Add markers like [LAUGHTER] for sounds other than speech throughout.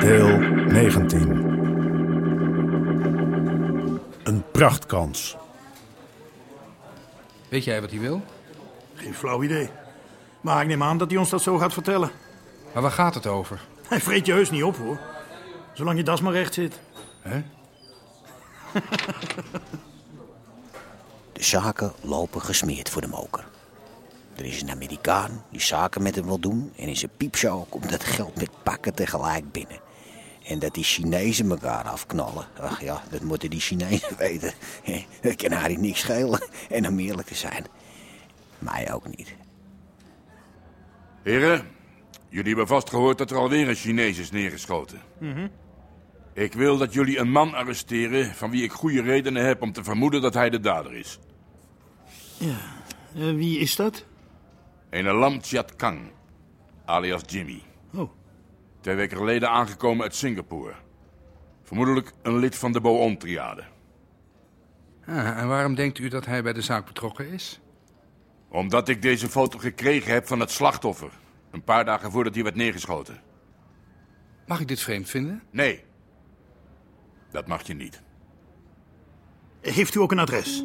Deel 19. Een prachtkans. Weet jij wat hij wil? Geen flauw idee. Maar ik neem aan dat hij ons dat zo gaat vertellen. Maar waar gaat het over? Hij vreet je heus niet op, hoor. Zolang je das maar recht zit. Hè? De zaken lopen gesmeerd voor de moker. Er is een Amerikaan die zaken met hem wil doen en in zijn piepshow komt dat geld met pakken tegelijk binnen. En dat die Chinezen elkaar afknallen. Ach ja, dat moeten die Chinezen [LAUGHS] weten. Dat kan haar niks schelen. En om eerlijk te zijn, mij ook niet. Heren, jullie hebben vast gehoord dat er alweer een Chinees is neergeschoten. Ik wil dat jullie een man arresteren van wie ik goede redenen heb om te vermoeden dat hij de dader is. Eh, wie is dat? Een Lam Chiat Kang, alias Jimmy. Oh, Twee weken geleden aangekomen uit Singapore. Vermoedelijk een lid van de Boon-triade. Ah, en waarom denkt u dat hij bij de zaak betrokken is? Omdat ik deze foto gekregen heb van het slachtoffer. Een paar dagen voordat hij werd neergeschoten. Mag ik dit vreemd vinden? Nee, dat mag je niet. heeft u ook een adres?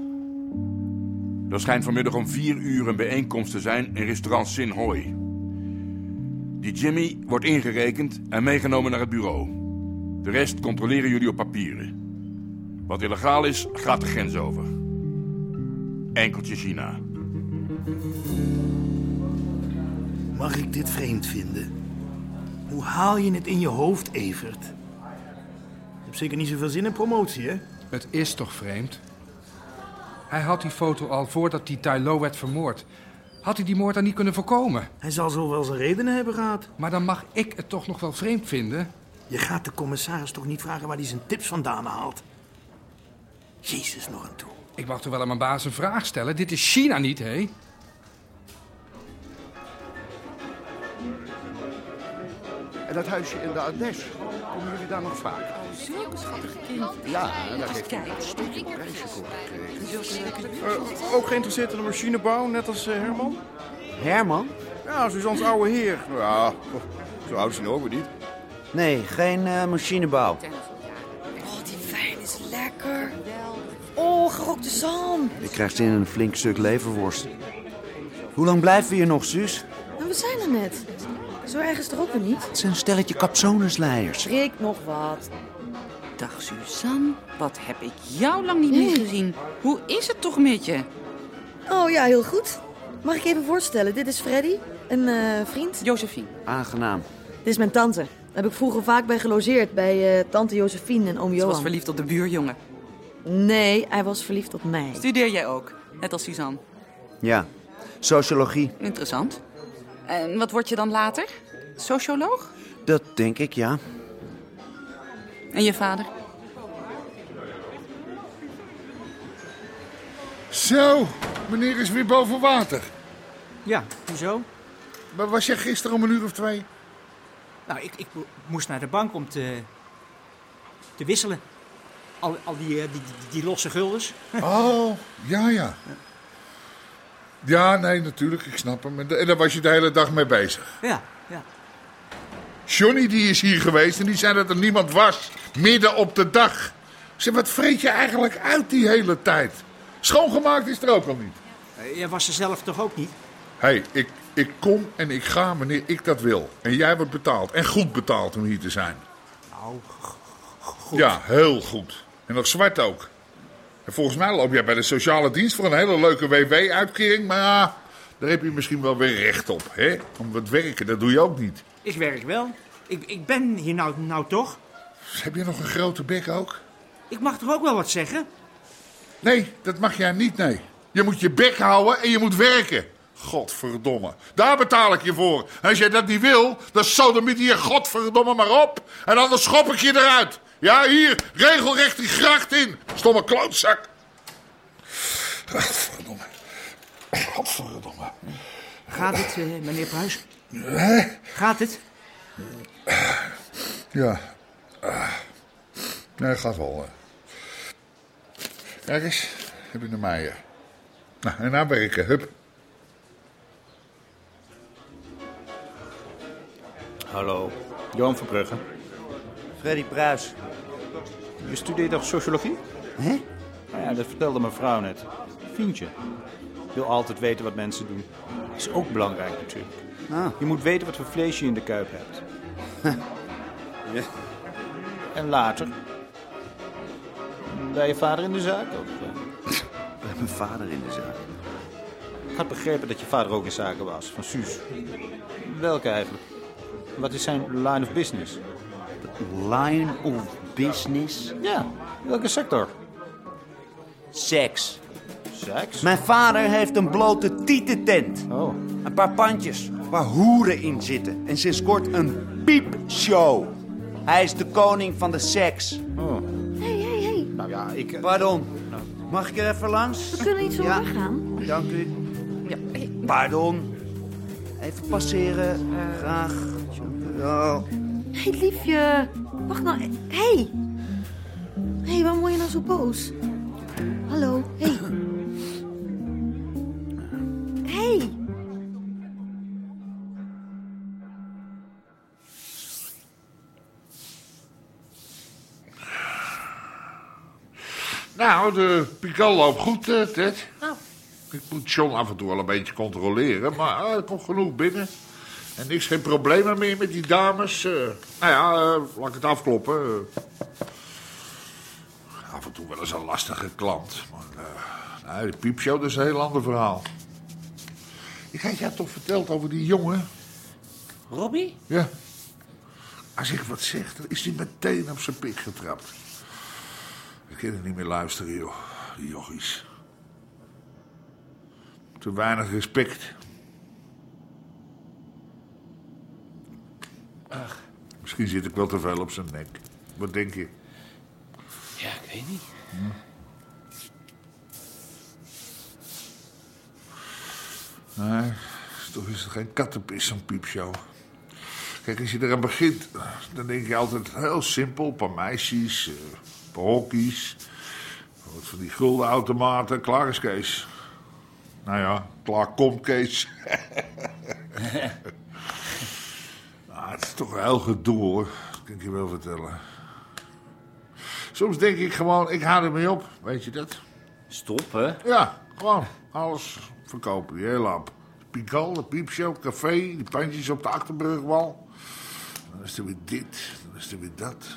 Er schijnt vanmiddag om vier uur een bijeenkomst te zijn in restaurant Sin Hoi. Die Jimmy wordt ingerekend en meegenomen naar het bureau. De rest controleren jullie op papieren. Wat illegaal is, gaat de grens over. Enkeltje China. Mag ik dit vreemd vinden? Hoe haal je het in je hoofd, Evert? Je hebt zeker niet zoveel zin in promotie, hè? Het is toch vreemd? Hij had die foto al voordat die Tai Lo werd vermoord. Had hij die moord dan niet kunnen voorkomen? Hij zal zo wel zijn redenen hebben gehad. Maar dan mag ik het toch nog wel vreemd vinden? Je gaat de commissaris toch niet vragen waar hij zijn tips vandaan haalt? Jezus, nog aan toe. Ik mag toch wel aan mijn baas een vraag stellen? Dit is China niet, hé? En dat huisje in de Ardes, komen jullie daar nog vaak? Ja, en daar heeft hij een stukje prijsje voor gekregen. Eh, ook geïnteresseerd in de machinebouw, net als eh, Herman? Herman? Ja, Suzanne's oude heer. Nou Ja, zo oud is hij nou ook weer niet. Nee, geen eh, machinebouw. Oh, die wijn is lekker. Oh, gerookte zalm. Ik krijg zin in een flink stuk leverworst. Hoe lang blijven we hier nog, Suus? Nou, we zijn er net. Zo erg is het er ook weer niet. Het zijn een stelletje kapsonesleiers. Drink nog wat. Dag Suzanne, wat heb ik jou lang niet meer gezien. Hoe is het toch met je? Oh ja, heel goed. Mag ik even voorstellen? Dit is Freddy, een eh, vriend. Josephine, Aangenaam. Dit is mijn tante. Daar heb ik vroeger vaak bij gelogeerd, bij eh, tante Josephine en oom ze Johan. was verliefd op de buurjongen. Nee, hij was verliefd op mij. Studeer jij ook, net als Suzanne. Ja, sociologie. Interessant. En wat word je dan later? Socioloog? Dat denk ik, ja. En je vader? Zo, meneer is weer boven water. Ja, hoezo? Maar was jij gisteren om een uur of twee? Nou, ik, ik mo- moest naar de bank om te, te wisselen. Al, al die, eh, die, die, die losse guldens. Oh, ja, ja. Ja, nee, natuurlijk, ik snap hem. En da- en daar was je de hele dag mee bezig. Ja, ja. Johnny die is hier geweest en die zei dat er niemand was. Midden op de dag. Zeg, wat vreet je eigenlijk uit die hele tijd? Schoongemaakt is er ook al niet. Eh, Jij was er zelf toch ook niet? Hé, hey, ik, ik kom en ik ga wanneer ik dat wil. En jij wordt betaald. En goed betaald om hier te zijn. Nou, Ja, heel goed. En nog zwart ook. En volgens mij loop jij bij de sociale dienst voor een hele leuke WW-uitkering. Maar ja, daar heb je misschien wel weer recht op. Hè? Om wat werken, dat doe je ook niet. ik werk wel. Ik, ik ben hier nou, nou toch? Dus Heb je nog een grote bek ook? Ik mag toch ook wel wat zeggen? Nee, dat mag jij niet, nee. Je moet je bek houden en je moet werken. Godverdomme. Daar betaal ik je voor. En als jij dat niet wil, dan sodemiet je godverdomme maar op. En anders schop ik je eruit. Ja, hier, regelrecht die gracht in. Stomme klootzak. Godverdomme. Godverdomme. Gaat het, eh, meneer Pruis? Hè? Gaat het? Ja. Ah. Nee, dat gaat wel. eh. Kijk eens, heb ik de meier. Nou, en nou werken, hup. Hallo, Johan Verbrugge. Freddy Pruis. Je studeert toch sociologie? Hè? Nou ja, dat vertelde mijn vrouw net. Vind je? Wil altijd weten wat mensen doen. Is ook belangrijk natuurlijk. Je moet weten wat voor vlees je in de kuip hebt. En later? Bij je vader in de zaak? Of, Bij mijn vader in de zaak. Ik had begrepen dat je vader ook in zaken was, van Suus. Welke eigenlijk? Wat is zijn line of business? Line of business? Ja, welke sector? Seks. Seks? Mijn vader heeft een blote tietentent. Oh. Een paar pandjes waar hoeren in zitten. En sinds kort een piepshow. Hij is de koning van de seks. Oh. Hé, hé, hé. Nou ja, ik... Pardon. Mag ik er even langs? We kunnen niet zo Ja. doorgaan. Dank u. Pardon. Even passeren. Graag. Ja. Hé, liefje. Wacht nou. Hé. Hey. Hé, hey, waarom word je nou zo boos? Hallo. Hé. Hey. Hey. Nou, de pikal loopt goed, eh, Ted. Ik moet John af en toe wel een beetje controleren, maar eh, er komt genoeg binnen. En niks, geen problemen meer met die dames. eh. nou ja, eh, laat ik het afkloppen. eh. af en toe wel eens een lastige klant. Maar eh, nou, de piepshow, dat is een heel ander verhaal. Ik had jou toch verteld over die jongen? Robbie? Ja. Als ik wat zeg, dan is hij meteen op zijn pik getrapt. Ik kan er niet meer luisteren, joh. Die jochies. Te weinig respect. Ach. Misschien zit ik wel te veel op zijn nek. Wat denk je? Ja, ik weet niet. Nee, toch is het geen kattenpis, zo'n piepshow. Kijk, als je eraan begint, dan denk je altijd heel simpel. Een paar meisjes, eh, een paar hokkies. Wat van die guldenautomaten. Klaar is Kees. Nou ja, klaar komt Kees. nou, het is toch een heel gedoe, hoor. Dat kan ik je wel vertellen. Soms denk ik gewoon, ik haal ermee op. Weet je dat? Stoppen? Ja, gewoon. Alles verkopen, die hele lamp. Pikal, de piepshow, café, die pandjes op de Achterburgwal. Dan is er weer dit, dan is er weer dat.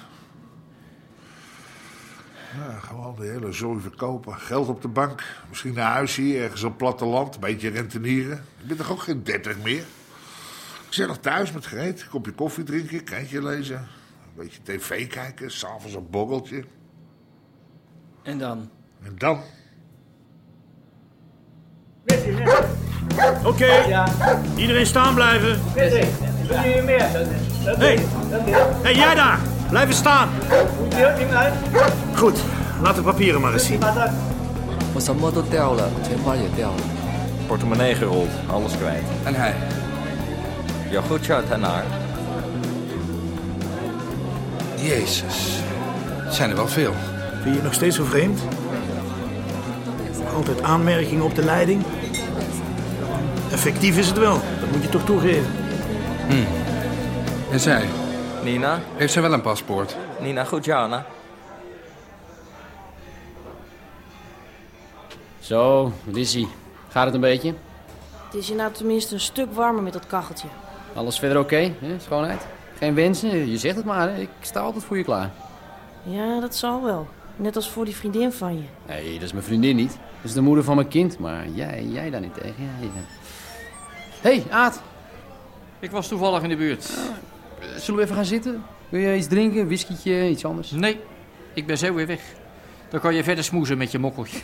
Ja, gewoon de hele zooi verkopen. Geld op de bank. Misschien naar huis hier, ergens op het platteland. Een beetje rentenieren. Ik ben toch ook geen dertig meer? Gezellig thuis met gereed. Kopje koffie drinken, krantje lezen. Een beetje tv kijken, s'avonds een boggeltje. En dan? En dan? Oké, iedereen staan blijven. Hé, hey, jij daar, blijven staan. Goed, laat de papieren maar eens zien. 我什么都掉了，钱包也掉了。 Portemonnee gerold, alles kwijt. En hij? Ja, goed, ja, daarnaar. Jezus. Het zijn er wel veel. Vind je het nog steeds zo vreemd? Altijd aanmerkingen op de leiding? Effectief is het wel, dat moet je toch toegeven. Hm. En zij? Nina? Heeft zij wel een paspoort? Nina, goed, Jana. Zo, wat is ie? Gaat het een beetje? Het is je nou tenminste een stuk warmer met dat kacheltje. Alles verder oké, hè? schoonheid? Geen wensen, je zegt het maar, hè? ik sta altijd voor je klaar. Ja, dat zal wel. Net als voor die vriendin van je. Nee, dat is mijn vriendin niet. Dat is de moeder van mijn kind, maar jij, jij daar niet tegen. Ja, ja. hey, Aad. Ik was toevallig in de buurt. [LAUGHS] Zullen we even gaan zitten? Wil je iets drinken, een whiskytje, iets anders? Nee, ik ben zo weer weg. Dan kan je verder smoezen met je mokkeltje.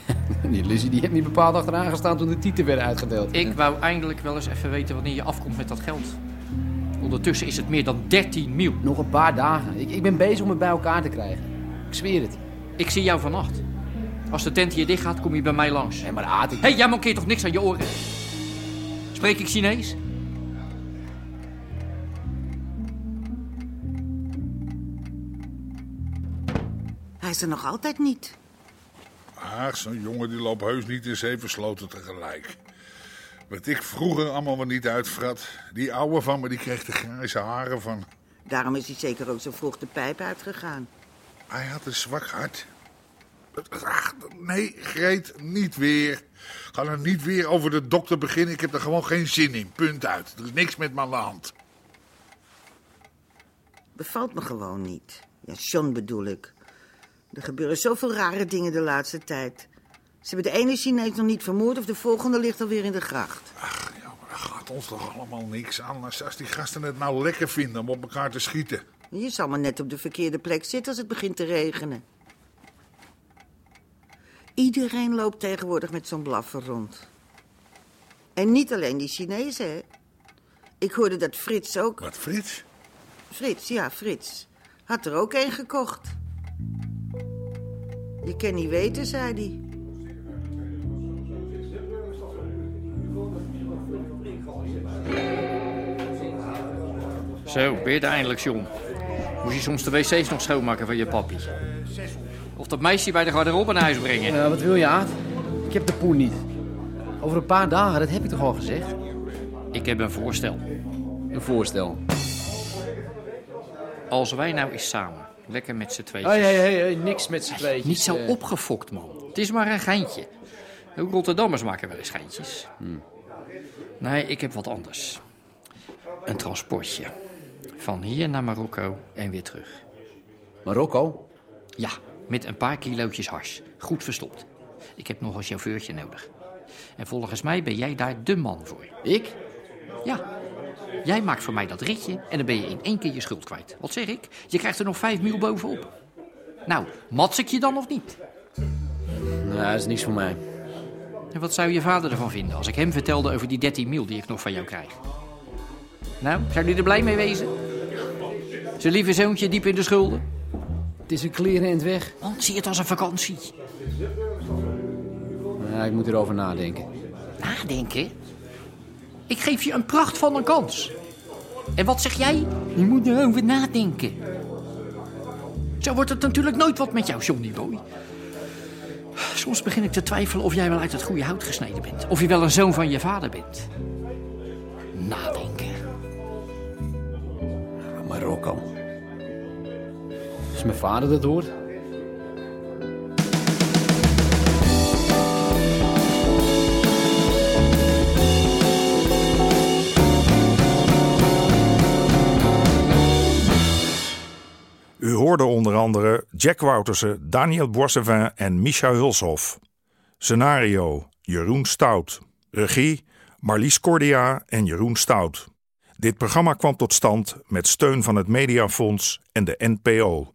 Die Lizzie die heeft niet bepaald achteraan gestaan toen de tieten werden uitgedeeld. Ik wou eindelijk wel eens even weten wanneer je afkomt met dat geld. Ondertussen is het meer dan 13 mil. Nog een paar dagen. Ik, ik ben bezig om het bij elkaar te krijgen. Ik zweer het. Ik zie jou vannacht. Als de tent hier dicht gaat, kom je bij mij langs. Hé, maar Aad, hey, jij mankeert toch niks aan je oren? Spreek ik Chinees? Hij is er nog altijd niet. Ach, zo'n jongen die loopt heus niet in zeven sloten tegelijk. Wat ik vroeger allemaal wel niet uitvrat. Die ouwe van me, die kreeg de grijze haren van. Daarom is hij zeker ook zo vroeg de pijp uitgegaan. Hij had een zwak hart. Ach, nee, Greet, niet weer. Ga er niet weer over de dokter beginnen. Ik heb er gewoon geen zin in. Punt uit. Er is niks met me aan de hand. Bevalt me gewoon niet. Ja, John bedoel ik. Er gebeuren zoveel rare dingen de laatste tijd. Ze hebben de ene Chinees nog niet vermoord of de volgende ligt alweer in de gracht. Gaat ons toch allemaal niks aan. Als als die gasten het nou lekker vinden om op elkaar te schieten. Je zal maar net op de verkeerde plek zitten als het begint te regenen. Iedereen loopt tegenwoordig met zo'n blaffen rond. En niet alleen die Chinezen, hè. Ik hoorde dat Frits ook... Wat, Frits? Frits, ja, Frits. Had er ook één gekocht. Je kan niet weten, zei hij. Zo, ben je er eindelijk, John. Moest je soms de wc's nog schoonmaken van je papi? Of dat meisje bij de garderobe naar huis brengen? Eh, wat wil je, Aad? Ik heb de poen niet. Over een paar dagen, dat heb ik toch al gezegd? Ik heb een voorstel. Een voorstel. Als wij nou eens samen, lekker met z'n tweeën. Hé, hé, hé, hé, niks met z'n tweetjes. Niet zo eh. opgefokt, man. Het is maar een geintje. Ook Rotterdammers maken wel eens geintjes. Nee, ik heb wat anders. Een transportje. Van hier naar Marokko en weer terug. Marokko? Ja, met een paar kilootjes hars. Goed verstopt. Ik heb nog een chauffeurtje nodig. En volgens mij ben jij daar de man voor. Ik? Ja. Jij maakt voor mij dat ritje en dan ben je in één keer je schuld kwijt. Wat zeg ik? Je krijgt er nog vijf mil bovenop. Nou, mats ik je dan of niet? Nou, dat is niks voor mij. En wat zou je vader ervan vinden als ik hem vertelde over die 13 mil die ik nog van jou krijg? Nou, zou die er blij mee wezen? Zijn lieve zoontje diep in de schulden? Het is een kleren in het weg. Man, zie het als een vakantie. Ja, ik moet erover nadenken. Nadenken? Ik geef je een pracht van een kans. En wat zeg jij? Je moet erover nadenken. Zo wordt het natuurlijk nooit wat met jou, Johnny Boy. Soms begin ik te twijfelen of jij wel uit het goede hout gesneden bent. Of je wel een zoon van je vader bent. Nadenken. Marokko. Als mijn vader dat hoort. U hoorde onder andere Jack Woutersen, Daniel Boissevin en Micha Hulshoff. Scenario Jeroen Stout. Regie Marlies Cordia en Jeroen Stout. Dit programma kwam tot stand met steun van het Mediafonds en de NPO.